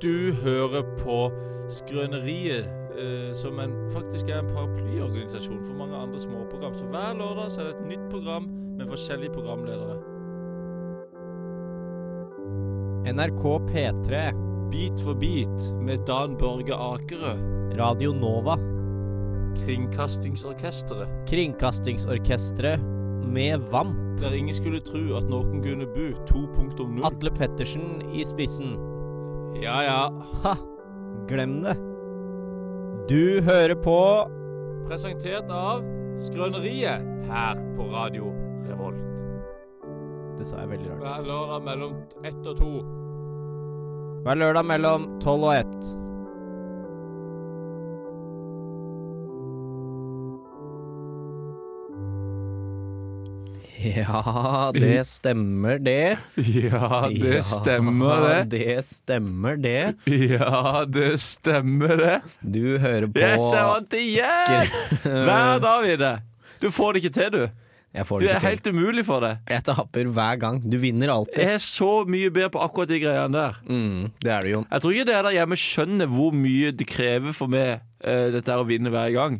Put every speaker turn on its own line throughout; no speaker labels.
Du hører på Skrøneriet, eh, som en, faktisk er en paraplyorganisasjon for mange andre småprogram. Så hver lørdag så er det et nytt program med forskjellige programledere.
NRK P3,
Bit for bit med Dan Børge Akerø,
Radio Nova,
Kringkastingsorkesteret.
Kringkastingsorkestret med VAMP,
Der ingen skulle tro at noen kunne bo 2.0.
Atle Pettersen i spissen.
Ja, ja.
Ha! Glem det. Du hører på
Presentert av Skrøneriet her på Radio Revolt.
Det sa jeg veldig rart.
Hver lørdag mellom ett og to.
Hver lørdag mellom 12 og 1. Ja, det stemmer det.
Ja, det stemmer det.
Det stemmer det.
Ja, det stemmer det.
Du hører på
Jeg ser han til hjelp! Hver
Hver
dag, Ide. Du får det ikke til, du.
Jeg får
Du
det
er
ikke til.
helt umulig for det.
Jeg taper hver gang. Du vinner alltid.
Jeg er så mye bedre på akkurat de greiene der.
Mm, det er du jo.
Jeg tror ikke dere der hjemme skjønner hvor mye det krever for meg eh, dette her å vinne hver gang.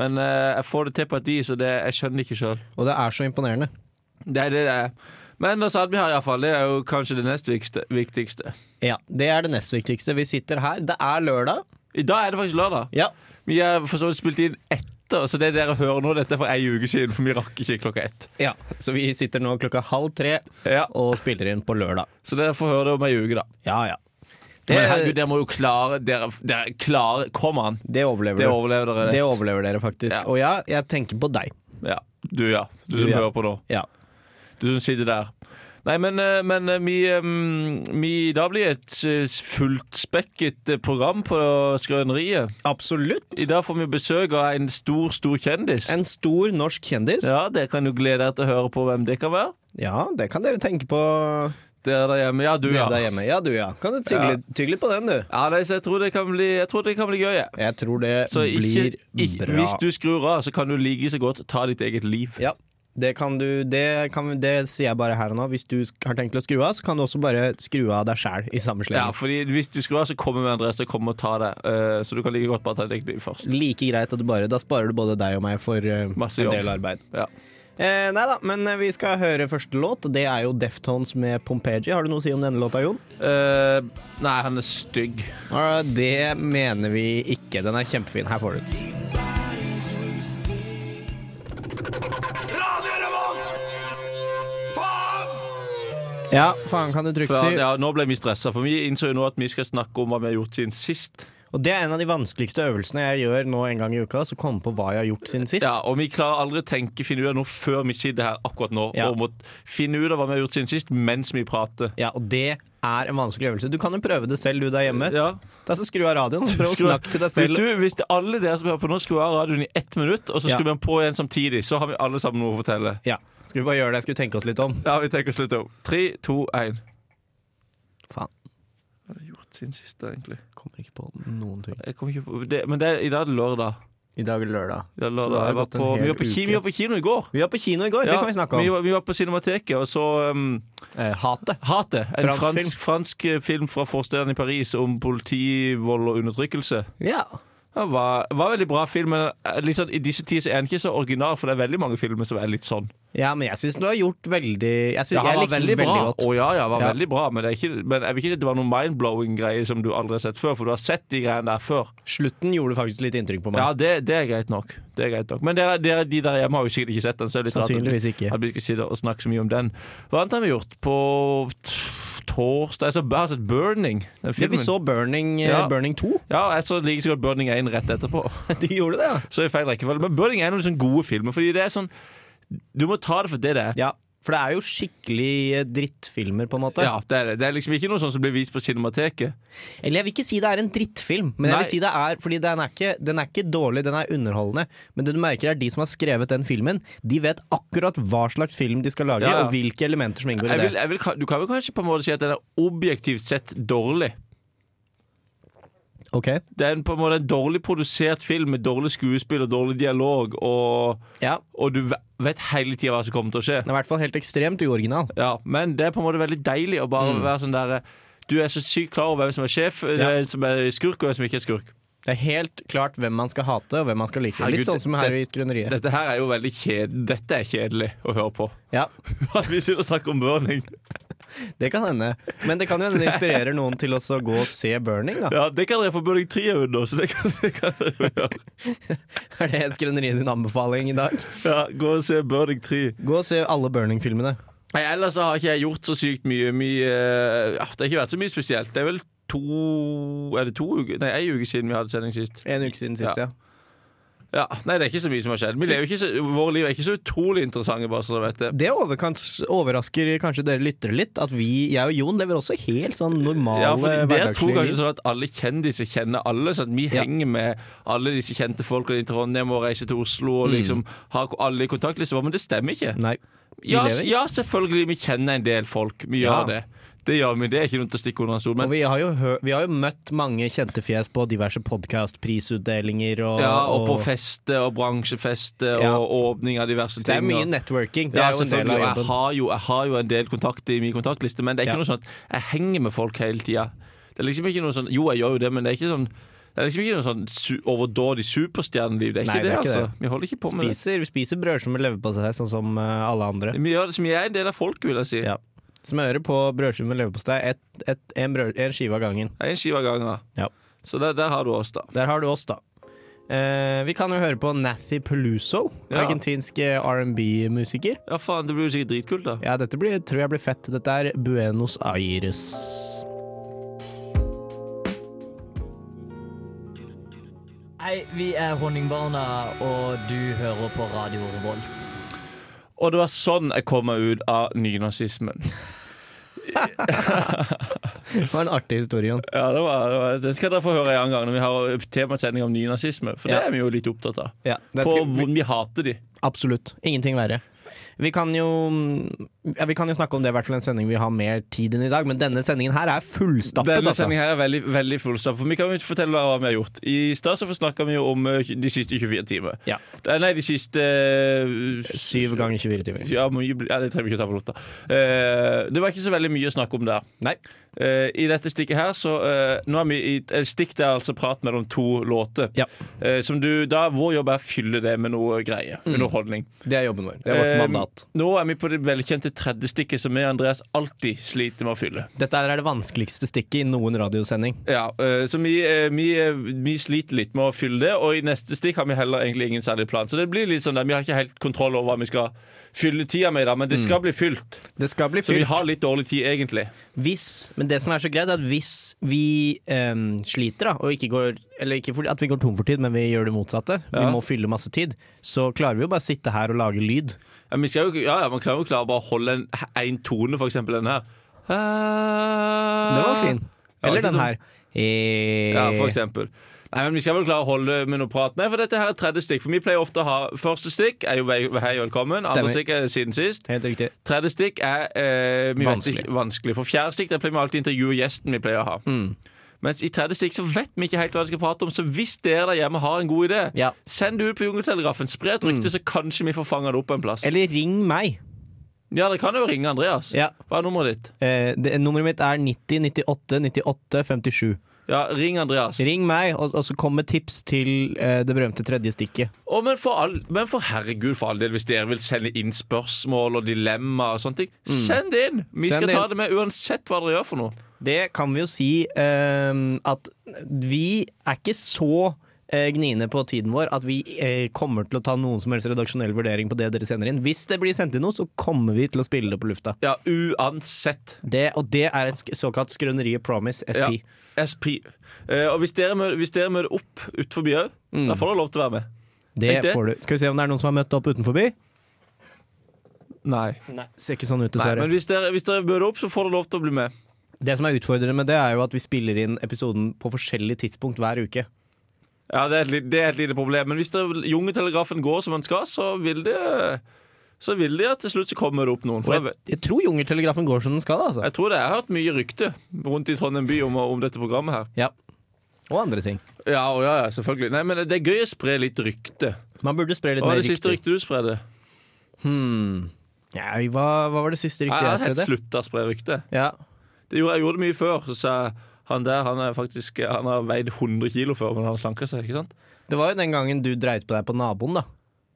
Men eh, jeg får det til på et vis, og det, jeg skjønner det ikke sjøl.
Og det er så imponerende.
Det er det det er. Men da satt vi her iallfall. Det er jo kanskje det nest viktigste- viktigste.
Ja, Det er det nest viktigste. Vi sitter her. Det er lørdag.
I dag er det faktisk lørdag.
Ja,
Vi har for så vidt spilt inn etter, så det dere hører nå, dette er for ei uke siden, for vi rakk ikke klokka ett.
ja. Så vi sitter nå klokka halv tre
Ja,
og spiller inn på lørdag.
Så dere får høre det om ei uke, da.
Ja, ja. Det,
Men herregud, dere må jo klare Dere, dere klarer Kom an!
det overlever
Det
dere.
overlever dere.
Det overlever dere faktisk.
Ja.
Og ja, jeg tenker på deg.
Ja. Du, ja. Du
Du,
som
ja.
hører på nå.
Ja.
Du som sitter der. Nei, men, eh, men eh, vi, em, vi Da blir det et eh, fullspekket eh, program på Skrøneriet.
Absolutt.
I dag får vi besøk av en stor, stor kjendis.
En stor norsk kjendis. Ja.
Ja, Dere kan jo glede dere til å høre på hvem det kan være.
det kan dere tenke på
Dere der hjemme. Ja, du,
dere
ja.
der hjemme. Ja, du, ja. Kan du tygge,
Ja.
litt- tygge litt på den, du.
ja nei, så jeg tror det kan bli, jeg tror det kan bli gøy. jeg.
Jeg tror det
Så
blir
ikke, ikke,
bra.
hvis du skrur av, så kan du like så godt ta ditt eget liv.
Ja, det kan du Det, kan, det sier jeg bare her og nå. Hvis du sk- har tenkt til å skru av, så kan du også bare skru av deg sjæl i samme
Ja,
sleng.
fordi hvis du skrur av, så kommer Andreas til å komme og ta deg. eh, så du kan like godt bare ta ditt eget liv først.
Like greit at du bare Da sparer du både deg og meg for eh,
Masse
en
jobb.
del arbeid.
Ja.
Eh, nei da, men eh, vi skal høre første låt. og Det er jo Deftones med Pompeji. Har du noe å si om denne låta, Jon?
Eh, nei, han er stygg.
Ah, Det mener vi ikke. Den er kjempefin. Her får du den. Ja, faen kan du trykke
For,
si.
han- ja, nå ble vi stressa, for vi innså jo nå at vi skal snakke om hva vi har gjort siden sist.
Og det er en av de vanskeligste øvelsene jeg gjør nå en gang i uka. Så komme på hva jeg har gjort siden sist.
Ja, Og vi klarer aldri å tenke finne ut av noe før vi sitter her akkurat nå.
Ja.
Og må finne ut av hva vi har gjort siden sist mens vi prater.
Ja, og det er en vanskelig øvelse. Du kan jo prøve det selv, du der hjemme.
Ja.
Da så Skru av radioen og prøv å
Skru-
snakke til deg
Hvis,
selv.
du, hvis det, alle dere som hører på nå, skrur av radioen i ett minutt, og så
Ja.
skrur vi den på igjen samtidig, så har vi alle sammen noe å fortelle.
Ja, Skal vi bare gjøre det? Skal vi tenke oss litt om?
Ja, vi tenker å slutte opp. Tre, to, én.
Faen,
Hva har jeg gjort siden sist, egentlig?
kommer ikke på noen ting.
Jeg kom ikke på det, Men det, er- i dag er det lørdag.
I dag er lørdag.
I dag er
Så det
lørdag.
har
Jeg var
gått en
på, vi,
hel
var på ki,
uke.
vi var på kino i går.
Vi var på kino i går, det
Ja,
kan vi snakke om.
Vi var, vi var på Cinemateket og så um,
Eh, hatet.
Hatet. En
Fransk
fransk, fransk, eh, film fra forstedene i Paris om politivold og undertrykkelse.
Ja.
Det var, var veldig bra film, men eh, litt sånn, i disse tider så er den ikke så original, for det er veldig mange filmer som er litt sånn.
ja, men jeg syns du har gjort veldig Jeg, synes,
Ja, han
jeg
var
likte den
veldig, bra.
godt.
Å, ja, ja, han var
Ja.
veldig bra men, det er ikke, men jeg vil ikke si at det var noen mind-blowing-greier som du aldri har sett før, for du har sett de greiene der før.
Slutten gjorde faktisk litt inntrykk på meg.
Ja, det, det er greit nok. Det er greit nok. Men dere, dere, de der hjemme har jo sikkert ikke sett den. Så det er litt rart at-
Sannsynligvis ikke.
at vi skal sitte og snakke så mye om den. Hva annet har vi gjort på t- torsdag? Jeg så- Jeg har sett Burning, den
Ja,
filmen.
vi så Burning, eh,
Ja.
Burning 2.
Ja, jeg så like så godt Burning 1 rett etterpå.
Du gjorde det, ja?
Så i feil rekkefølge. Men Burning 1 er noen sånne sånn gode filmer, fordi det er sånn Du må ta det for det det er.
Ja, For det er jo skikkelig eh, drittfilmer, på en måte.
Ja, det er det. Det er liksom ikke noe sånn som blir vist på Cinemateket.
Eller jeg vil ikke si det er en drittfilm, men jeg
Nei.
vil si det er Fordi den er ikke, den er ikke dårlig, den er underholdende. Men det du merker er de som har skrevet den filmen, de vet akkurat hva slags film de skal lage,
Ja, ja.
og hvilke elementer som inngår i
Jeg
det.
vil, jeg vil, ka- du kan vel kanskje på en måte si at den er objektivt sett dårlig.
Ok,
Det er en, på en måte en dårlig produsert film med dårlig skuespill og dårlig dialog, og,
ja
og du ve- vet hele tida hva som kommer til å skje.
Den er i hvert fall helt ekstremt uoriginal.
Ja, men det er på en måte veldig deilig å bare være sånn der eh, Du er så sykt klar over hvem som er sjef, eh,
Ja.
hvem som er skurk, og hvem som ikke er skurk.
Det er helt klart hvem man skal hate, og hvem man skal like.
Herregud,
Litt sånn som her i Skrøneriet.
Dette her er jo veldig kjedelig Dette er kjedelig å høre på.
Ja,
At vi sitter og snakker om burning.
det kan hende. Men det kan jo hende det inspirerer noen til også å gå og se Burning, da.
Ja, det kan dere få burning 3 under, så det kan, det kan dere jo gjøre.
Er det Skrøneriet sin anbefaling i dag?
Ja, gå og se burning 3.
Gå og se alle Burning-filmene.
Nei, ellers så har ikke jeg gjort så sykt mye. mye eh, ja, det har ikke vært så mye spesielt. Det er vel to Er det to uker? Nei, ei uke siden vi hadde sending sist.
En uke siden sist,
Ja.
ja.
Ja, Nei, det er ikke så mye som har skjedd. Vi lever ikke så, våre liv er ikke så utrolig interessante, bare så dere vet det.
Det overkans- overrasker kanskje dere lyttere litt, at vi, jeg og Jon lever også helt sånn normale
Ja, for Dere tror
hverdagsliv.
kanskje sånn at alle kjendiser kjenner alle, så at vi
Ja.
henger med alle disse kjente folkene i Trondheim og reiser til Oslo og liksom har alle i kontaktliste, men det stemmer ikke.
Mm. Nei. Vi
Ja,
lever.
ja, selvfølgelig, vi kjenner en del folk. Vi
Ja.
gjør det. Det gjør vi, det er ikke noe til å stikke under en stol. Men
og vi har, jo hø vi har jo møtt mange kjente fjes på diverse podkastprisutdelinger og,
Ja, og på feste og bransjefeste
Ja.
og åpning av diverse
Så det er
ting.
mye
og-
networking. Det
Ja,
er jo en del
selvfølgelig. og
av
Jeg
jobben.
har, jo, jeg har jo en del kontakter i min kontaktliste, men det er ikke
Ja.
noe sånn at jeg henger med folk hele tida. Det er liksom ikke noe sånn Jo, jeg gjør jo det, men det er ikke sånn det er liksom ikke noe sånn su overdådig superstjerneliv. Det er ikke
Nei,
det,
det er ikke
altså.
det.
Vi holder ikke på med
Spiser, spiser brødskiver med leverpostei, sånn som eh, alle andre.
det. Vi gjør det som jeg er en del av folk, vil jeg si.
Ja. Smører på brødskive med leverpostei, ett- ett- en, brød- en skive av gangen.
Det er en skive av gangen.
Ja.
Så der, der har du oss, da.
Der har du oss, da. Eh, vi kan jo høre på Nathy Peluso,
Ja.
argentinsk eh, R&B-musiker.
Ja, faen, det blir jo sikkert dritkult, da.
Ja, dette blir, tror jeg blir fett. Dette er Buenos Aires.
Hei, vi er Honningbarna, og du hører på Radio Revolt.
Og det var sånn jeg kom meg ut av nynazismen.
Det var en artig historie. Jon.
Ja, det var, det var, den skal dere få høre en annen gang når vi har temasending om nynazisme. For
Ja.
det er vi jo litt opptatt av.
Ja, det
På
skal-
hvordan vi hater de.
Absolutt. Ingenting verre. Vi kan jo, mm, ja, vi kan jo snakke om det i hvert fall en sending vi har mer tid enn i dag, men denne sendingen her er fullstappet.
Denne
altså.
sendingen her er veldig, veldig fullstappet. For vi kan jo ikke fortelle dere hva vi har gjort. I stad så snakka vi jo om eh, de siste 24 timer.
Ja.
Det er- Nei, de siste eh,
Syv ganger 24 timer.
ja, mye, bli- ja, det trenger vi ikke ta på lufta. Eh, det var ikke så veldig mye å snakke om der.
Nei.
Eh, I dette stikket her så eh, Nå er vi i et stikk der altså prat mellom to låter.
Ja.
Eh, som du, da, vår jobb er å fylle det med noe greie. Underholdning.
Det er jobben vår. Mm. Det er vårt
Eh,
mandat.
Nå er vi på det velkjente tredje stikket som jeg og Andreas alltid sliter med å fylle.
Dette er det vanskeligste stikket i noen radiosending.
Ja, eh, Så vi, eh, vi, eh, vi sliter litt med å fylle det, og i neste stikk har vi heller egentlig ingen særlig plan. Så det blir litt sånn der, vi har ikke helt kontroll over hva vi skal fylle tida med, i dag, men det skal bli Mm. fylt.
Det skal bli
Så vi
fylt.
har litt dårlig tid, egentlig.
Hvis, men det som er så greit, er at hvis vi em, sliter, da, og ikke går Eller ikke for, at vi går tom for tid, men vi gjør det motsatte, vi
Ja.
må fylle masse tid, så klarer vi jo bare å sitte her og lage lyd.
Ja, vi skal jo, ja, ja, Man kan jo klare å bare holde en, en tone, for eksempel den her. Den
Den var fin. Eller
ikke
den
dum.
her. Eh,
Ah. Ja, for eksempel. Nei, men Vi skal vel klare å holde med noe prat. Nei, for dette her er tredje stikk. For vi pleier ofte å ha Første stikk er jo vei- hei og velkommen.
Stemmer.
Andre stikk er siden sist.
Helt riktig.
Tredje stikk er eh, vi
Vanskelig.
Vet ikke, vanskelig. For fjerde stikk der pleier vi alltid å intervjue gjesten vi pleier å ha.
Mm.
Mens i tredje stikk så vet vi ikke helt hva vi skal prate om. Så hvis dere der hjemme har en god idé,
Ja. Mm.
send det ut på Jungeltelegrafen. Spre et rykte, så kanskje vi får fanga det opp en plass.
Eller ring meg.
Ja, dere kan jo ringe Andreas.
Ja.
Hva er nummeret ditt?
Eh, det, nummeret mitt er 90 98 98 57.
Ja, ring Andreas.
Ring meg, og, og så kom med tips til eh, det berømte tredje stikket.
Å, men, for all, men for herregud, for all del, hvis dere vil sende inn spørsmål og dilemmaer og sånne ting, send det inn! Vi
Mm. Send
skal
det
ta
inn.
det med uansett hva dere gjør for noe.
Det kan vi jo si eh, at vi er ikke så eh, gniende på tiden vår at vi eh, kommer til å ta noen som helst redaksjonell vurdering på det dere sender inn. Hvis det blir sendt inn noe, så kommer vi til å spille det på lufta.
Ja, uansett.
Det, og det er et sk såkalt Skrøneriet Promise
Ja.
SP.
SP. Eh, og hvis dere, møter, hvis dere møter opp utenfor òg, da får dere lov til å være med.
Det
Tenkte jeg.
får du. Skal vi se om det er noen som har møtt opp utenforbi?
Nei.
Ser ikke sånn ut,
Nei
dessverre.
men hvis dere, hvis dere møter opp, så får dere lov til å bli med.
Det som er utfordrende med det, er jo at vi spiller inn episoden på forskjellig tidspunkt hver uke.
Ja, det er et, li- det er et lite problem. Men hvis dere- jungeltelegrafen går som den skal, så vil det Så vil det at til slutt så kommer det opp noen. For
Og
jeg,
jeg, jeg tror Jungeltelegrafen går som den skal, altså.
jeg tror det jeg har hørt mye rykte rundt i Trondheim by om, om dette programmet her.
Ja. Og andre ting.
Ja, og ja, ja, selvfølgelig. Nei, men Det er gøy å spre litt rykte.
Man burde spre litt
Hva
mer
er det siste
riktig.
ryktet du spredde?
Hmm. Nei, hva, hva var det siste
Jeg
ryktet
har
jeg
helt
spredde?
slutta å spre rykte.
Ja.
Det gjorde, jeg gjorde det mye før, så sa jeg, han der han er faktisk Han har veid 100 kilo før, men han slanka seg, ikke sant?
Det var jo den gangen du dreit på deg på naboen, da.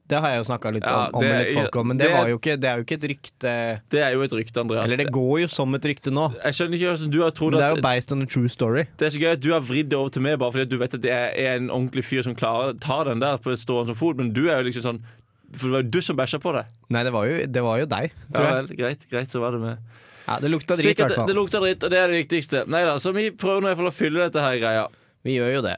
Det har jeg jo snakka litt
Ja,
om, om
det-
med litt folk om, men det,
det-
var jo ikke, det er jo ikke et rykte
Det er jo et rykte, Andreas.
Eller det går jo som et rykte nå.
Jeg skjønner ikke hvordan du har trodd
Men det er
at
jo based on a true story.
Det er så gøy at du har vridd det over til meg bare fordi at du vet at jeg er en ordentlig fyr som klarer å ta den der på stående fot, men du er jo liksom sånn For det var jo du som bæsja på det.
Nei, det var jo, det var jo deg,
Ja
tror jeg.
vel, greit, greit, så var det med.
Ja, det lukta drit, i
Sikkert,
hvert
det
fall.
lukter dritt, og det er det viktigste. Neida, så vi prøver nå i hvert fall å fylle dette her greia.
Vi gjør jo det.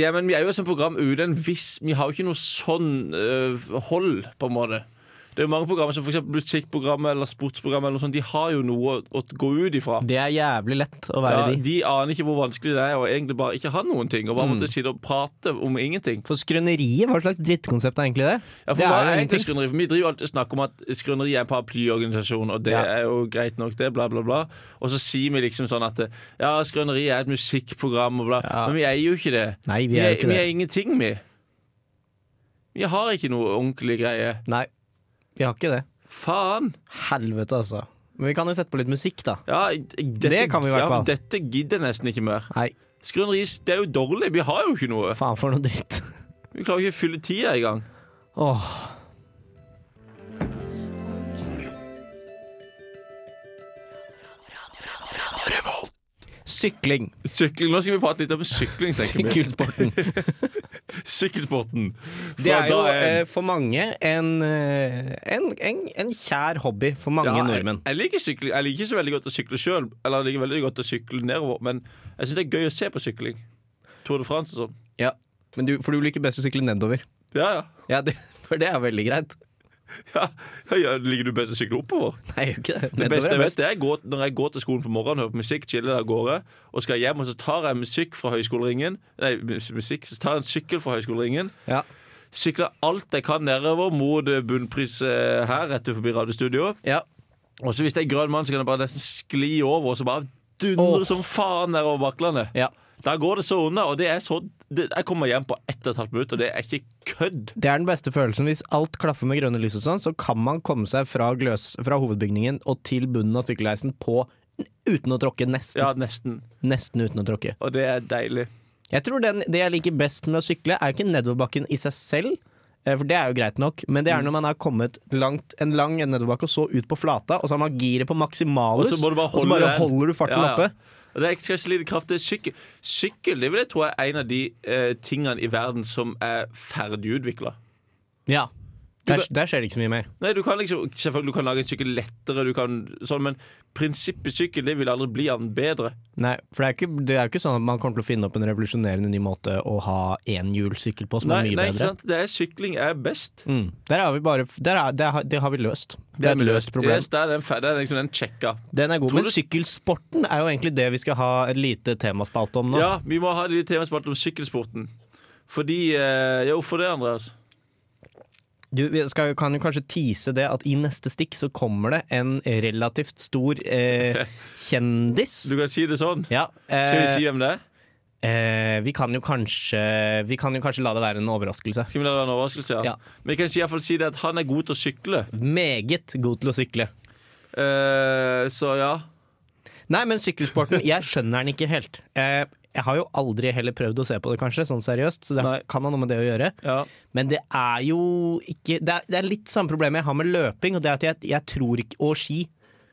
Ja, men vi er jo som program uten en viss Vi har jo ikke noe sånn øh, hold, på en måte. Det er jo mange programmer som for eksempel musikkprogrammet eller sportsprogrammet eller noe sånt, de har jo noe å, å gå ut ifra.
Det er jævlig lett å være
Ja,
de.
de aner ikke hvor vanskelig det er å egentlig bare ikke ha noen ting, og bare
Mm.
måtte sitte og prate om ingenting.
For skrøneriet, hva slags drittkonsept er egentlig det?
Ja, for
det
hva
jo
er egentlig
ingenting.
skrøneri? For Vi driver jo alltid og snakker om at skrøneri er en paraplyorganisasjon, og det
Ja.
er jo greit nok, det, bla, bla, bla. Og så sier vi liksom sånn at ja, skrøneri er et musikkprogram, og bla.
Ja.
Men vi er jo ikke det.
Nei, vi er jo ikke
vi
det.
er ingenting, vi. Vi har ikke noe ordentlig greie.
Nei, vi har ikke det.
Faen!
Helvete, altså. Men vi kan jo sette på litt musikk, da.
Ja, dette,
Det kan vi i hvert
ja,
fall.
dette gidder jeg nesten ikke mer.
Nei,
Skrøneri det er jo dårlig. Vi har jo ikke noe.
faen for noe dritt.
Vi klarer ikke å fylle tida i gang.
Åh. Sykling.
Sykling, Nå skal vi prate litt om sykling. tenker vi.
Sykkelsporten.
Sykkelsporten. Fra
Det er jo
da
eh, for mange en, eh, en, en, en kjær hobby for mange
Ja, jeg,
nordmenn.
jeg, liker sykling. jeg liker ikke så veldig godt å sykle sjøl, eller jeg liker veldig godt å sykle nedover, men jeg syns det er gøy å se på sykling. Tour de France og sånn.
Ja. Men du, for du liker best å sykle nedover.
Ja, ja.
Ja, det, For det er veldig greit.
ja. ja liker du best å sykle oppover?
Nei, jeg gjør ikke det.
Det
Nedover
beste
er
jeg vet,
best.
det er gå- når jeg går til skolen på morgenen, hører på musikk, chiller der av gårde, og skal hjem, og så tar jeg musikk fra høyskoleringen Nei, mus- musikk, så tar jeg en sykkel fra høyskoleringen.
Ja.
Sykler alt jeg kan nedover mot eh, bunnpris eh, her, rett forbi radiostudio.
Ja.
Og så hvis det er en grønn mann, så kan jeg bare nesten skli over, og så bare dundre
Åh.
som faen nedover bakklandet.
ja.
Da går det så unna, og det er så det, Jeg kommer hjem på ett og et halvt minutt, og det er ikke kødd.
Det er den beste følelsen. Hvis alt klaffer med grønne lys, og sånn, så kan man komme seg fra, gløs, fra hovedbygningen og til bunnen av sykkelheisen på uten å tråkke. Nesten,
Ja, nesten.
nesten uten å tråkke.
Og det er deilig.
Jeg tror den, Det jeg liker best med å sykle, er ikke nedoverbakken i seg selv, eh, for det er jo greit nok, men
Mm.
det er når man har kommet langt, en lang nedoverbakke og så ut på flata, og så har man giret på
Og
maksimalus,
så må du bare
og så
holde
bare
den.
holder du farten
Ja, ja.
oppe.
Og det er ekstra slite kraft. Det er sykkel. Sykkel det vil jeg tro er en av de eh, tingene i verden som er ferdigutvikla.
Ja.
Du
Der,
kan-
der skjer det ikke så mye mer.
Nei, du kan liksom, selvfølgelig du kan lage en sykkel lettere, du kan, sånn, men prinsippet sykkel det vil aldri bli annet bedre.
Nei, for det er, ikke, det er jo ikke sånn at man kommer til å finne opp en revolusjonerende ny måte å ha enhjulssykkel på som
Nei,
er mye
nei ikke
bedre.
sant? Det er sykling er best.
Mm. Der har vi bare der er, det, har, det har vi løst. Det er et løst problem.
Yes, det er den, fe- det er liksom den sjekka.
Den er god,
Tror
men
du-
sykkelsporten er jo egentlig det vi skal ha et lite temaspalte om nå.
Ja, vi må ha litt temaspalt om sykkelsporten. Fordi eh, Jo, for det, Andreas.
Du, vi skal, kan jo kanskje tease det at i neste stikk så kommer det en relativt stor eh, kjendis.
Du kan si det sånn.
Ja,
Skal vi si
eh,
hvem det er?
eh, vi kan jo kanskje Vi kan jo kanskje la det være en overraskelse.
Skal vi la det være en overraskelse? Ja.
Ja.
Men jeg kan si, i hvert fall si det at han er god til å sykle.
Meget god til å sykle.
Eh, så ja.
Nei, men sykkelsporten, jeg skjønner den ikke helt. Eh, jeg har jo aldri heller prøvd å se på det, kanskje, sånn seriøst, så det
Nei.
kan ha noe med det å gjøre.
ja.
Men det er jo ikke Det er, det er litt samme problemet jeg har med løping, og det er at jeg, jeg tror ikke Og ski.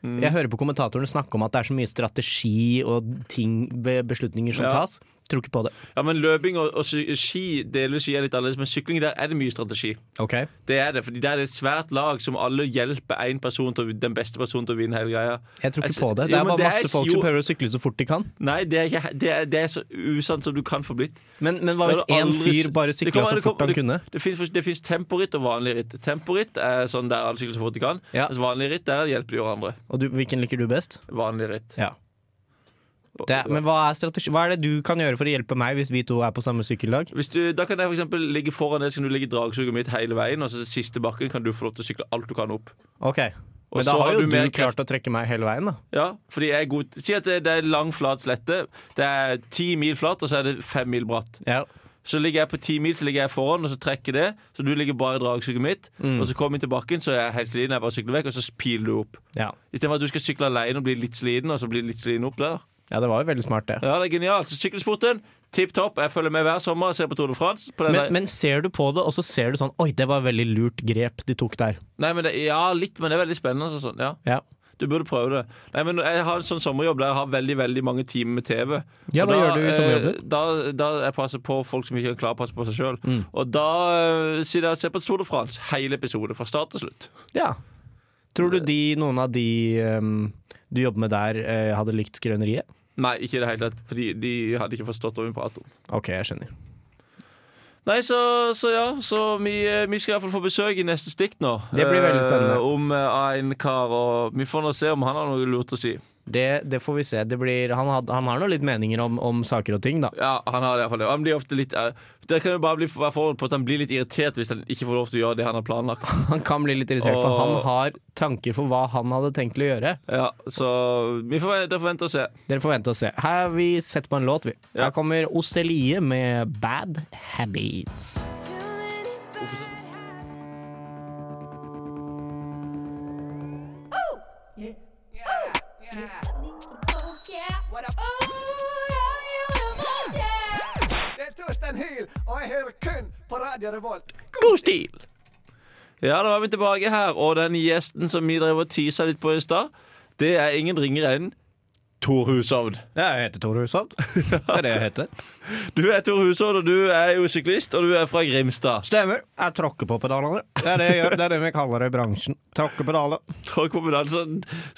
Jeg hører på kommentatorene snakke om at det er så mye strategi og ting ved beslutninger som
Ja.
tas. Tror ikke på det.
ja, men løping og, og sy- ski delvis ski er litt annerledes, men sykling der er det mye strategi. Det er det, fordi der er det et svært lag som alle hjelper én person til å, den beste personen til å vinne hele greia.
Jeg tror ikke
Altså,
på det.
jo,
Det er
men
bare
det er
masse folk
jo-
som prøver å sykle så fort de kan.
Nei, det er, ikke, det er, det er så usant som du kan få blitt.
Men, men hva
Det
hvis
er
én
aldri-
fyr bare
Det
sykla
kommer-
så
det
fort
kommer-
han kunne?
Det fins- Det fins temporitt og vanlig ritt. Temporitt er sånn der alle sykler så fort de kan.
Ja.
Mens vanlig ritt, der hjelper de hverandre.
Og du, hvilken liker du best?
Vanlig ritt.
Ja. Det er, men hva er strategi Hva er det du kan gjøre for å hjelpe meg hvis vi to er på samme sykkellag?
Hvis du, da kan jeg for eksempel ligge foran deg, så kan du ligge i dragsuget mitt hele veien. Og så siste bakken kan du få lov til å sykle alt du kan opp.
Ok,
Og
Men da
så
har jo
du
du,
mer kraft-
klart å trekke meg hele veien, da.
Ja, fordi jeg er god Si at det, det er lang, flat slette. Det er ti mil flatt, og så er det fem mil bratt.
Ja.
Så ligger jeg på ti mil, så ligger jeg foran, og så trekker det. Så du ligger bare i dragsuget mitt.
Mm.
Og så kommer vi til bakken, så er jeg helt sliten, jeg bare sykler vekk, og så piler du opp.
Ja.
Istedenfor at du skal sykle alene og bli litt sliten, og så bli litt sliten opp der.
ja, det var jo veldig smart, det.
Ja, det er genialt. Så sykkelsporten, tipp topp. Jeg følger med hver sommer og ser på Tour de France. På den der-
Men, men ser du på det, og så ser du sånn Oi, det var veldig lurt grep de tok der.
Nei, men det, ja, litt, men det er veldig spennende. og sånn, ja.
Ja,
Du burde prøve det. Nei, men Jeg har en sånn sommerjobb der jeg har veldig veldig mange timer med TV.
Ja,
Og
hva
da,
gjør du Mm. i sommerjobben?
eh, Da, da jeg passer på folk som ikke er klar til å passe på seg sjøl. Og da eh, sitter jeg og ser på Tour de France, hele episode, fra start til slutt.
ja. Tror du de, noen av de ehm, du jobber med der, eh, hadde likt skrøneriet?
Nei, ikke i det hele tatt, fordi de hadde ikke forstått hva vi prater om.
OK, jeg skjønner.
Nei, så, så ja. Så vi, eh, vi skal iallfall få besøk i neste stikk nå.
Det blir veldig spennende.
Eh, om eh, av en kar, og vi får nå se om han har noe lurt å si.
Det, det får vi se. Det blir, han, had, han har nå litt meninger om, om saker og ting, da.
Ja, han har det iallfall. Han blir ofte litt eh, Det kan jo bare bli, være forhold på at han blir litt irritert hvis han ikke får lov til å gjøre det han har planlagt.
Han kan bli litt irritert, for han
Og-
har tanker for hva han hadde tenkt til å gjøre.
Ja, så vi får vente, vente og se.
Dere får vente og se. Her har vi sett på en låt, vi.
Ja.
Her kommer Oselie med Bad Habits.
What up? Oh, yeah, yeah, yeah.
Det er Torstein Hyl, og jeg hører kun på Radio Revolt.
God stil! Ja, da var vi tilbake her, og den gjesten som vi drev og tisa litt på i stad, det er ingen ringere enn Tor Hushovd.
Jeg heter Tore Hushovd. Det er det jeg heter.
Du er Tor Hushovd, og du er jo syklist, og du er fra Grimstad.
Stemmer. Jeg tråkker på pedalene. Det er det, jeg gjør. det er det vi kaller det i bransjen. Tråkke pedaler.
Takk for meg, altså.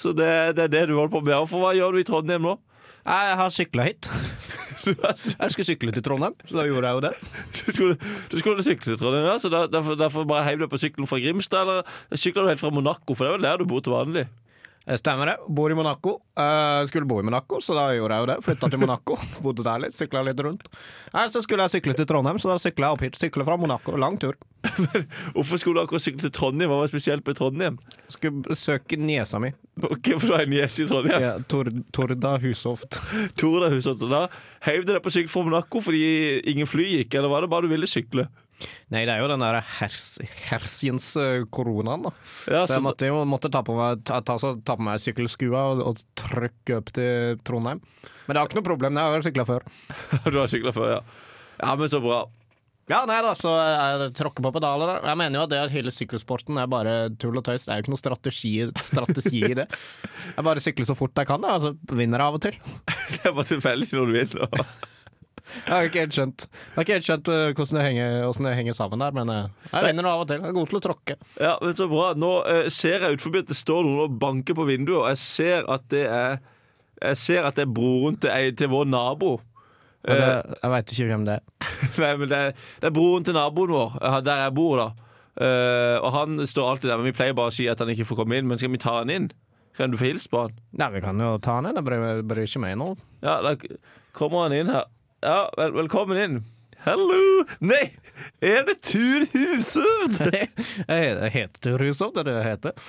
Så det, det er det du holder på med. Og For hva gjør du i Trondheim nå?
Jeg har sykla hit.
Du, er-
Jeg skulle sykle til Trondheim, så da gjorde jeg jo det.
du, skulle, du skulle sykle til Trondheim, ja, så der- derfor, derfor bare heiv du på sykkelen fra Grimstad? Eller sykler du helt fra Monaco, for det er vel der du bor til vanlig?
Eh, Stemmer det. Bor i Monaco. Eh, skulle bo i Monaco, så da gjorde jeg jo det. Flytta til Monaco, bodde der litt, sykla litt rundt. Nei, så skulle jeg sykle til Trondheim, så da sykla jeg opp hit. Sykla fra Monaco. Lang tur.
Hvorfor skulle du akkurat sykle til Trondheim? Hva var spesielt med Trondheim?
Skulle besøke niesa mi.
Ok, for du har en gjest i Trondheim.
Ja, Tor Torda Hushovd.
Tore Hushovd, så da heiv du deg på sykkel fra Monaco fordi ingen fly gikk, eller var det bare du ville sykle?
Nei, det er jo den der hers, hersiens eh, koronaen, da.
Ja, så
så jeg måtte, jo- måtte ta, på meg, ta, ta, så ta på meg sykkelskua og, og trykke opp til Trondheim. Men det var ikke noe problem, jeg har jo sykla før.
Du har sykla før, ja. Ja, men så bra.
Ja, nei da, så jeg tråkker på pedaler. da. Jeg mener jo at det at hele sykkelsporten er bare tull og tøys. Det er jo ikke noe strategi, strategi i det. Jeg bare sykler så fort jeg kan, da, og så vinner jeg av og til.
Det er bare tilfeldig når du vil. og-
Jeg har ikke helt skjønt, jeg har ikke helt skjønt eh, hvordan, det henger, hvordan det henger sammen der, men eh, jeg vinner av og til. Jeg er god til å tråkke.
Ja, men så bra. Nå eh, ser jeg ut forbi at det står noen og banker på vinduet, og jeg ser at det er Jeg ser at det er broren til, ei- til vår nabo.
Og det, jeg veit ikke hvem det er.
Nei, men det er, det er broren til naboen vår, eh, der jeg bor, da. Eh, og han står alltid der, men vi pleier bare å si at han ikke får komme inn. Men skal vi ta han inn? Kan du få hilse på han?
Nei, vi kan jo ta den, det bryr, bryr ikke meg nå.
Ja, da k- kommer han inn her. Ja, vel, velkommen inn. Hallo! Nei, er det Tur Hushovd?
jeg jeg heter Tor Hushovd, det er det jeg heter.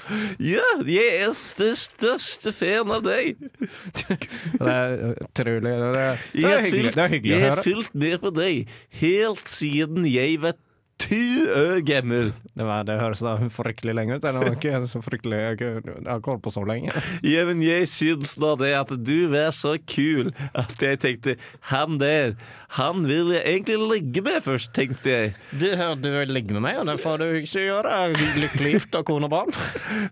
Ja, jeg er den største fan av deg.
Det er utrolig Det, det, det
Jeg
er hyggelig, det er hyggelig å
jeg har
høre.
fylt med på deg helt siden jeg var tu år gammel.
Det, var, det høres da fryktelig lenge ut. Det var ikke så fryktelig Jeg har ikke- jeg har ikke holdt på så lenge.
Ja, men jeg syns da det at du var så kul at jeg tenkte Han der, han vil jeg egentlig ligge med først, tenkte jeg.
Du, du vil ligge med meg, og det får du ikke gjøre. Jeg er Lykkelig gift og kone og barn.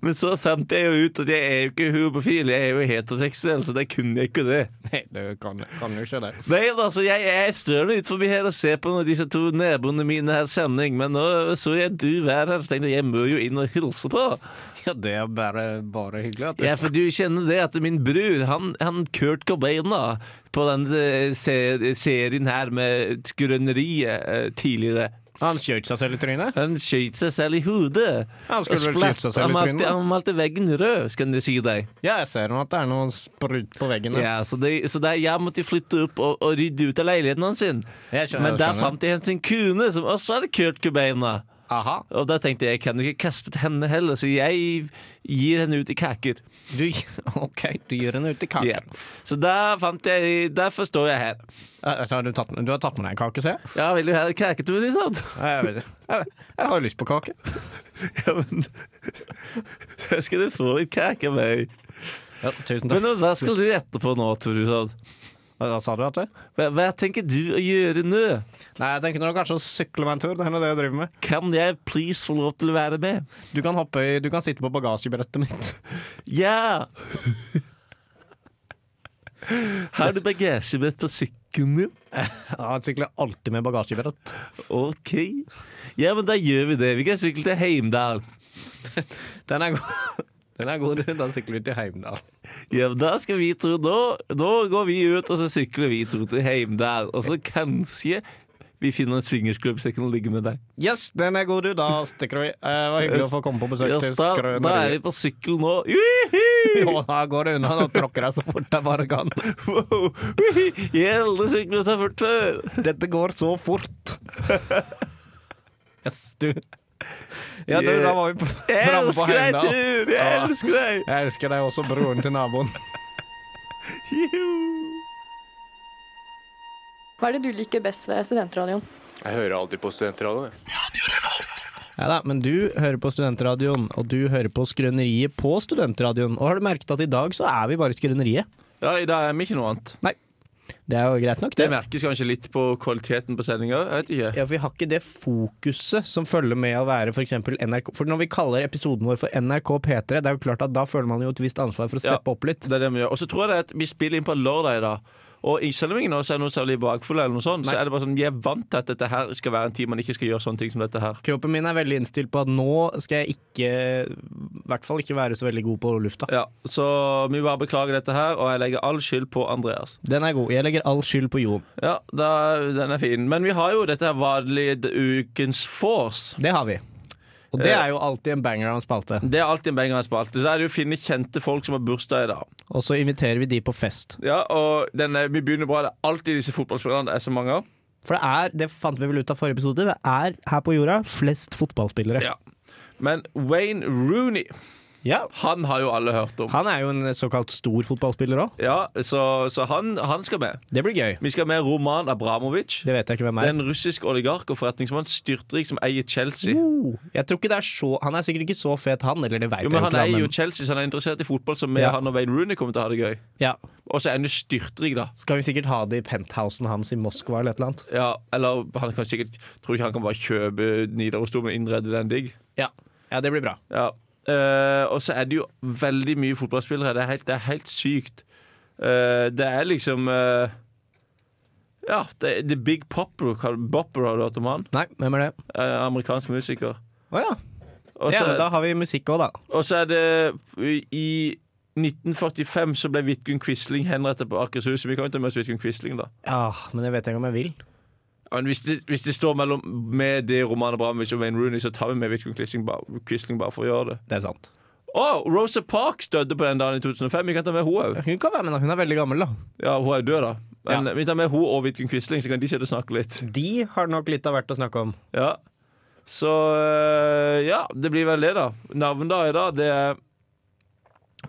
Men så fant jeg jo ut at jeg er jo ikke homofil, jeg er jo heteroseksuell, så det kunne jeg ikke det.
Nei, du kan, kan jo ikke det.
Nei, altså, jeg er større ut forbi her og ser på når disse to naboene mine her sending, men nå så jeg du være her, så tenkte jeg jeg må jo inn og hilse på.
Ja, det er bare, bare hyggelig. At du,
Ja, for du kjenner det at min bror, han, han Kurt Cobain da, på den eh, se- serien her med skrøneriet eh, tidligere,
Han skjøt seg selv i trynet.
han skjøt seg selv i hodet.
Han skulle
Og
vel
splatt.
skyte seg selv i
Han malte-
trynet.
Han malte veggen rød, skal jeg si deg.
Ja, jeg ser nå at det er noe sprut på veggen. der.
Ja, så det, så det, jeg måtte flytte opp og, og rydde ut av leiligheten hans sin.
Jeg skjønner-
Men der
skjønner.
fant jeg hans sin kone, som også er Kurt Cobain da.
Aha.
Og da tenkte jeg jeg kan ikke kaste til henne heller, så jeg gir henne ut i kaker.
Du, ok, du gjør henne ut i kake.
Ja. Så da fant jeg Derfor står jeg her.
Eh, så har du, tatt, du har tatt med deg en kake, ser jeg.
Ja, vil du ha en kaketur, liksom?
Ja, Jeg, vet det. jeg, jeg har lyst på kake.
Ja, men Da skal du få litt kake av meg.
Ja, tusen
Men
takk.
hva skal du etterpå nå, Torusad?
Hva sa du? at det?
Hva, hva tenker du å gjøre nå?
Nei, Jeg tenker nå kanskje å sykle meg en tur. Det er nå det jeg driver med.
Kan jeg please få lov til å være med?
Du kan, hoppe i, du kan sitte på bagasjebrettet mitt.
Ja! Har du bagasjebrett på sykkelen din?
Ja, Jeg sykler alltid med bagasjebrett.
OK. Ja, men da gjør vi det. Vi kan sykle til Heimdal.
Den er god. Den er god. Da sykler vi til Heimdal.
Ja, men da skal vi tro Nå, nå går vi ut, og så sykler vi to til Heimdal. Og så kanskje vi finner en swingersklubb så jeg kan ligge med deg.
Yes, den er god, du. Da stikker vi. Eh, det var hyggelig å få komme på besøk
Ja,
til
da, da er vi
Skrøneriet.
på sykkel nå. Juhu!
Jo, da går det unna. Nå tråkker jeg så fort jeg bare kan.
Wow! Juhu! Jeg har aldri syklet så fort før.
Dette går så fort. Yes, du. Ja, du, da var vi på-
Jeg
framme på
elsker deg,
Heimdal.
Tur! Jeg
Ja.
elsker deg!
Jeg elsker deg også, broren til naboen.
Juhu!
Hva er det du liker best ved studentradioen?
Jeg hører alltid på studentradioen. jeg.
Ja da, men du hører på Studentradioen, og du hører på Skrøneriet på Studentradioen. Og har du merket at i dag så er vi bare Skrøneriet?
Ja, i dag er vi ikke noe annet.
Det er jo greit nok,
Det
det.
merkes kanskje litt på kvaliteten på sendinga. Jeg vet ikke.
Ja, for Vi har ikke det fokuset som følger med å være f.eks. NRK. For når vi kaller episoden vår for NRK P3, det er jo klart at da føler man jo et visst ansvar for å
Ja.
steppe opp litt.
Det er det vi gjør. Og så tror jeg det er at vi spiller inn på lørdag i dag. Og i- selv om ingen av oss er noe særlig bakfulle, eller noe sånt, så
Nei.
er det bare sånn, vi er vant til at dette her skal være en tid man ikke skal gjøre sånne ting som dette her.
Kroppen min er veldig innstilt på at nå skal jeg ikke, i hvert fall ikke være så veldig god på lufta.
Ja, Så vi bare beklager dette her, og jeg legger all skyld på Andreas.
Den er god. Jeg legger all skyld på Jon.
Ja, da, den er fin. Men vi har jo dette her vanlige ukens force.
Det har vi. Og
Eh.
det er jo alltid en banger av en spalte.
Det er alltid en banger i spalte. Så er det jo å finne kjente folk som har bursdag i dag.
Og så inviterer vi de på fest.
Ja, og den er, Vi begynner bra. Det er alltid disse fotballspillerne det er så mange av.
For det er, det fant vi vel ut av forrige episode, det er her på jorda flest fotballspillere.
Ja. Men Wayne Rooney,
Ja.
han har jo alle hørt om.
Han er jo en såkalt stor fotballspiller òg.
Ja, Så, så han, han skal med.
Det blir gøy.
Vi skal med Roman Abramovic.
Det vet jeg ikke hvem
Det er
er.
en russisk oligark og forretningsmann styrtrik som eier Chelsea.
Oh, jeg tror ikke det er så Han er sikkert ikke så fet, han. Eller det vet
Jo,
jeg
men Han
ikke. da,
eier jo
men-
Chelsea, så han er interessert i fotball, så med
Ja.
han og Wayne Rooney kommer til å ha det gøy.
ja.
Og så er han jo styrtrik, da.
Skal vi sikkert ha det i penthousen hans i Moskva eller et eller annet.
Ja, eller han kan sikkert Tror ikke han kan bare kjøpe Nidarosdomen og innrede den digg.
Ja. ja, det blir bra.
Ja. Eh, og så er det jo veldig mye fotballspillere. Det er helt, det er helt sykt. Eh, det er liksom eh, Ja, det er The Big Popper. Bopper, har du hørt om han?
Nei, hvem er det?
Eh, amerikansk musiker.
Å ja.
Og
ja
så
men da har vi musikk òg, da.
og så er det I 1945 så ble Vidkun Quisling henrettet på Akershus. Vi kan jo ta med oss Vidkun Quisling, da.
Ja, Ah, men jeg vet ikke om jeg vil.
Men hvis det, hvis det står mellom med det Roman Abramovic og Wayne Rooney, så tar vi med Vidkun Quisling, bare- Quisling bare for å gjøre det.
Det er sant.
Å, Rosa Parks døde på den dagen i 2005. Vi kan ta med henne òg.
Hun kan være med, da. Hun er veldig gammel, da.
Ja, hun er død, da. Men vi tar med henne og Vidkun Quisling, så kan de sitte og snakke litt.
De har nok litt av hvert å snakke om.
Ja. Så øh, ja, det blir vel det, da. Navndag i dag, det er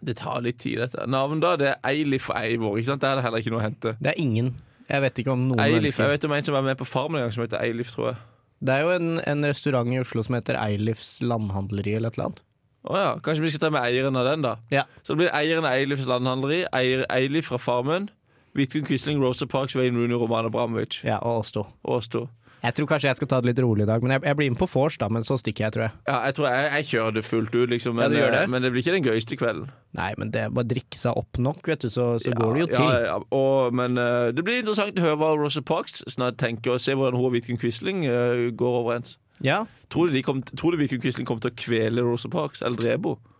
Det tar litt tid, dette. Navndag det er Eilif og Eivor. ikke sant? Der er det heller ikke noe å hente.
Det er ingen. Jeg vet ikke om noen
Eilif,
mennesker
Jeg vet om en som var med på Farmen en gang, som heter Eilif, tror jeg.
Det er jo en, en restaurant i Oslo som heter Eilifs landhandleri eller et eller annet.
Å ja, Kanskje vi skal ta med eieren av den, da.
Ja.
Så det blir eieren av Eilifs landhandleri, eier Eilif fra Farmen, Vidkun Quisling, Rosa Parks, Wayne Rooney, Roman Abramovic
Ja, og oss to.
og oss to.
Jeg tror kanskje jeg skal ta det litt rolig i dag, men jeg, jeg blir med på vors, da, men så stikker jeg, tror jeg.
Ja, jeg tror jeg, jeg kjører det fullt ut, liksom.
Ja,
Men,
du gjør det.
eh, men det blir ikke den gøyeste kvelden.
Nei, men det er bare å drikke seg opp nok, vet du, så, så
Ja,
går det jo til.
Ja, ja, og, men eh, det blir interessant å høre hva Rosa Parks snart tenker, og se hvordan hun og Vidkun Quisling eh, går overens.
Ja.
Tror du, de kom, tror du Vidkun Quisling kommer til å kvele Rosa Parks eller drepe henne?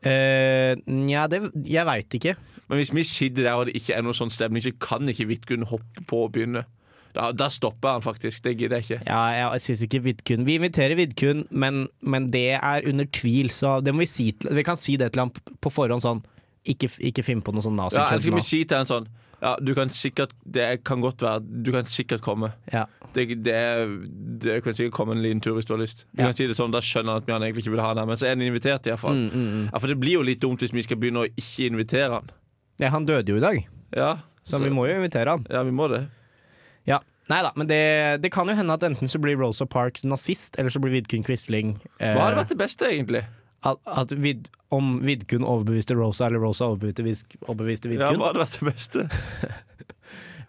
Eh, Nja, det Jeg veit ikke.
Men hvis vi sitter der og det ikke er noen sånn stemning, så kan ikke Vidkun hoppe på og begynne. Da, da stopper han faktisk. Det gidder jeg ikke.
Ja, jeg, jeg syns ikke Vidkun Vi inviterer Vidkun, men, men det er under tvil, så det må vi si til Vi kan si det til ham på forhånd sånn Ikke, ikke finn på noe sånn
Ja, eller skal
nazi-kødd
vi si til han sånn Ja, du kan sikkert Det kan godt være Du kan sikkert komme.
Ja.
Det, det, det kan sikkert komme en liten tur hvis du har lyst. Du
Ja.
kan si det sånn, Da skjønner han at vi han egentlig ikke vil ha han her, men så er han invitert. i hvert fall
Mm,
Ja, For det blir jo litt dumt hvis vi skal begynne å ikke invitere han.
Ja, han døde jo i dag,
Ja,
så,
så-
vi må jo invitere han.
Ja, vi må det.
Ja. Nei da, men det, det kan jo hende at enten så blir Rosa Parks nazist, eller så blir Vidkun Quisling eh,
Hva hadde vært det beste, egentlig?
at, at vid, Om Vidkun overbeviste Rosa, eller Rosa overbeviste, Vis-
Ja,
overbeviste Vidkun.
hva hadde vært det beste?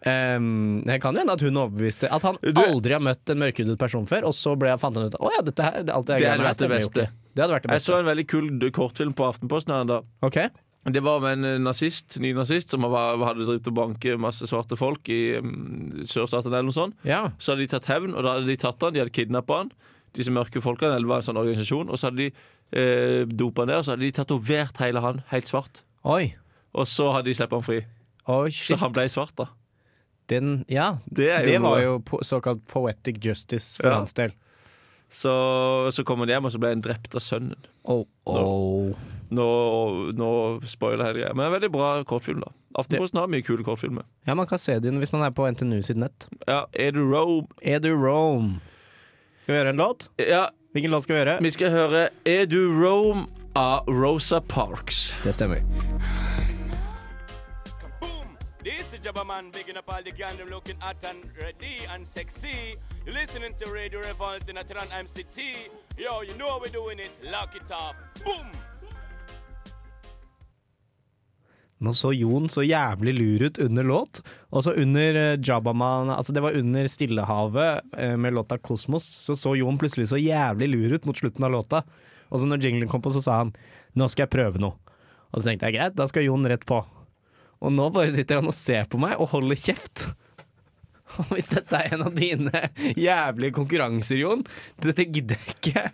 Ehm, det kan jo hende at hun overbeviste At han
Du-
aldri har møtt en mørkhudet person før, og så ble, fant han ut at å ja, dette her, det, alt det,
Det hadde
greiene her
vært det
stemmer jo
beste.
ikke». Det hadde vært det
Jeg så
beste.
en veldig kul d- kortfilm på Aftenposten her en dag.
Ok,
Det var med en eh, nazist, ny nazist som var, hadde drevet og banket masse svarte folk i mm, sørstaten eller noe sånt.
ja.
Så hadde de tatt hevn, og da hadde de tatt han, de hadde kidnappa han. Disse mørke folkene eller det var en sånn organisasjon. Og så hadde de eh, dopa han ned, og så hadde de tatovert hele han helt svart.
Oi.
Og så hadde de sluppet han fri.
Oi,
Så
shit.
han ble svart, da.
Den, ja,
Det er jo
det var
noe.
jo po såkalt poetic justice for
Ja.
hans del.
Så, så kom han hjem, og så ble han drept av sønnen.
Oh, oh.
Nå, nå spoiler hele greia. Men en veldig bra kortfilm, da. Aftenposten har mye kule kortfilmer.
Ja, man kan se den hvis man er på NTNU sitt nett.
Ja, er du Rome?
Edu Rome. Skal vi gjøre en låt?
Ja,
Hvilken låt skal vi gjøre?
vi skal høre Er du Rome av Rosa Parks.
Det stemmer.
Boom! This is Jabba Man bigging up all the gang them looking hot and ready and sexy. You're listening to Radio Revolt in Atlanta MCT. Yo, you know how we're doing it. Lock it up. Boom!
Nå så Jon så jævlig lur ut under låt. Og så under eh, Jabbaman Altså, det var under Stillehavet eh, med låta 'Kosmos'. Så så Jon plutselig så jævlig lur ut mot slutten av låta. Og så når jinglen kom på, så sa han 'nå skal jeg prøve noe'. Og så tenkte jeg greit, da skal Jon rett på. Og nå bare sitter han og ser på meg og holder kjeft. Og hvis dette er en av dine jævlige konkurranser, Jon, dette gidder jeg ikke.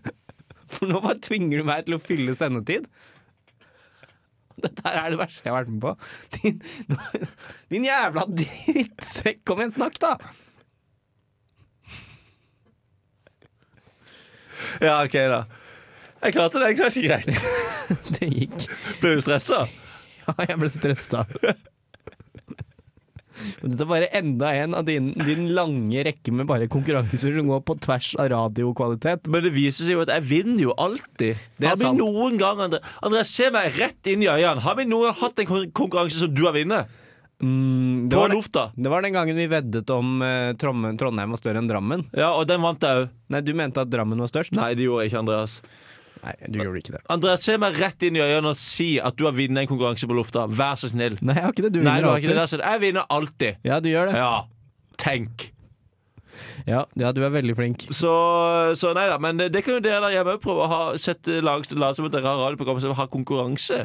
For nå bare tvinger du meg til å fylle sendetid. Dette her er det verste jeg har vært med på. Din, din jævla drittsekk! Kom igjen, snakk, da!
Ja, OK, da. Jeg klarte det ganske greit.
Det gikk.
Ble du stressa?
Ja, jeg ble stressa. Men Dette er bare enda en av din, din lange rekke med bare konkurranser som går på tvers av radiokvalitet.
Men det viser seg jo at jeg vinner jo alltid.
Det er
har vi
sant.
noen gang, Andre- Andreas, se meg rett inn i øynene. Har vi noen gang hatt en kon- konkurranse som du har vunnet?
Mm,
På
var den-
lufta.
det var den gangen vi veddet om eh, Tromme- Trondheim var større enn Drammen.
Ja, og den vant jeg òg.
Nei, du mente at Drammen var størst?
Nei, det gjorde jeg ikke, Andreas.
Nei du gjorde ikke det.
Andreas, se meg rett inn i øynene og si at du har vunnet en konkurranse på lufta. Vær så snill.
Nei, jeg har ikke det. Du
Nei,
vinner
du har ikke
alltid.
det der, så jeg vinner alltid.
Ja, du gjør det.
Ja. Tenk.
Ja, ja, du er veldig flink.
Så, så nei da, men det, det kan jo dere der hjemme òg prøve. å Ha, sette lag, late som at dere har radioprogram som har konkurranse.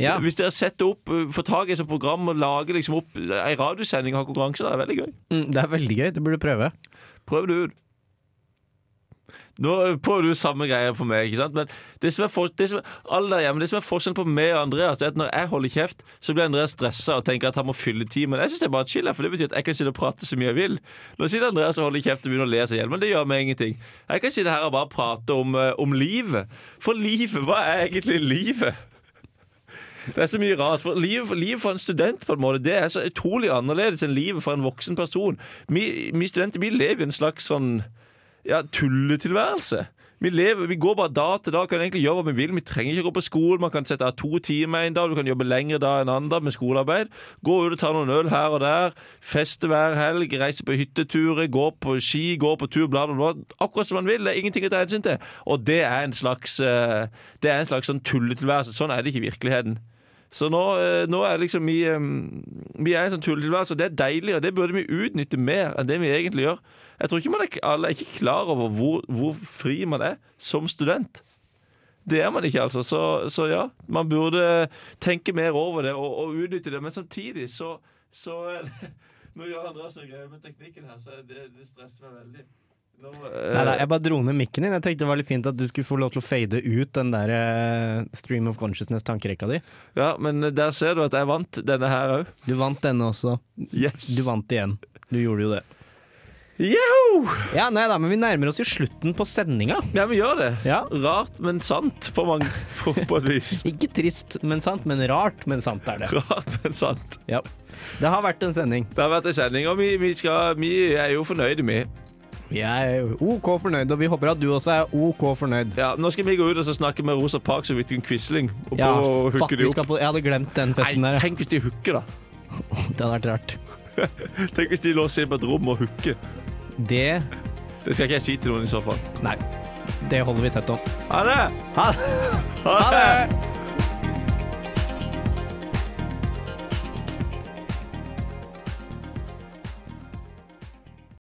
Ja.
Hvis dere setter opp, eh, får tak i et sånt program og lager liksom opp ei radiosending og har konkurranse, da er det veldig gøy.
Mm, det er veldig gøy. Du burde prøve.
Prøv det ut. Nå eh, prøver du samme greia på meg, ikke sant? Men det som er, for, det som er, alle der hjemme, det som er forskjellen på meg og Andreas, det er at når jeg holder kjeft, så blir Andreas stressa og tenker at han må fylle tid. Men jeg syns det er bare chill, for det betyr at jeg kan sitte og prate så mye jeg vil. Nå sitter Andreas og holder kjeft og begynner å le seg i hjel, men det gjør meg ingenting. Jeg kan sitte her og bare prate om, eh, om livet. For livet, hva er egentlig livet? Det er så mye rart. For livet, for livet for en student på en måte, det er så utrolig annerledes enn livet for en voksen person. Vi, vi studenter vi lever i en slags sånn ja, tulletilværelse. Vi, lever, vi går bare dag til dag, kan egentlig gjøre hva vi vil. Vi trenger ikke gå på skolen. Man kan sette av to timer en dag, du kan jobbe lengre da enn andre med skolearbeid. Gå ut og ta noen øl her og der. Feste hver helg, reise på hytteturer, gå på ski, gå på tur, bla, bla, bla. Akkurat som man vil. Det er ingenting å ta hensyn til. Og det er en slags, eh, det er en slags sånn tulletilværelse. Sånn er det ikke i virkeligheten. Så nå, eh, nå er liksom vi eh, Vi er i en sånn tulletilværelse, og det er deilig, og det burde vi utnytte mer enn det vi egentlig gjør. Jeg tror ikke man er, alle er ikke klar over hvor, hvor fri man er som student. Det er man ikke, altså. Så, så ja, man burde tenke mer over det og, og utnytte det. Men samtidig så, så er det- Nå gjør Andreas noen greier med teknikken her, så det, det stresser meg veldig. Nå, eh,
Nei, nei, jeg bare dro ned mikken din. Jeg tenkte det var litt fint at du skulle få lov til å fade ut den der eh, stream of consciousness-tankerekka di.
ja, men der ser du at jeg vant denne her òg.
Du vant denne også.
Yes!
Du vant igjen. Du gjorde jo det.
Yahoo!
Ja, nei da, men vi nærmer oss jo slutten på sendinga.
Ja, vi gjør det.
Ja.
Rart, men sant på, mange, på, på et vis.
Ikke trist, men sant. Men rart, men sant er det.
Rart, men sant.
Ja. Det har vært en sending.
Det har vært en sending, og vi, vi, skal, vi er jo fornøyde, vi.
Jeg er OK fornøyd, og vi håper at du også er OK fornøyd.
Ja, nå skal vi gå ut og så snakke med Rosa Parks og Vidkun Quisling og prøve å
fuck,
hooke
vi
de opp.
skal på, jeg hadde glemt den festen
Nei,
der.
tenk hvis de hooker, da.
Det hadde vært rart.
Tenk hvis de låser inn på et rom og hooker.
Det
Det skal ikke jeg si til noen i så fall.
Nei. Det holder vi tett om.
Ha det!
Ha det!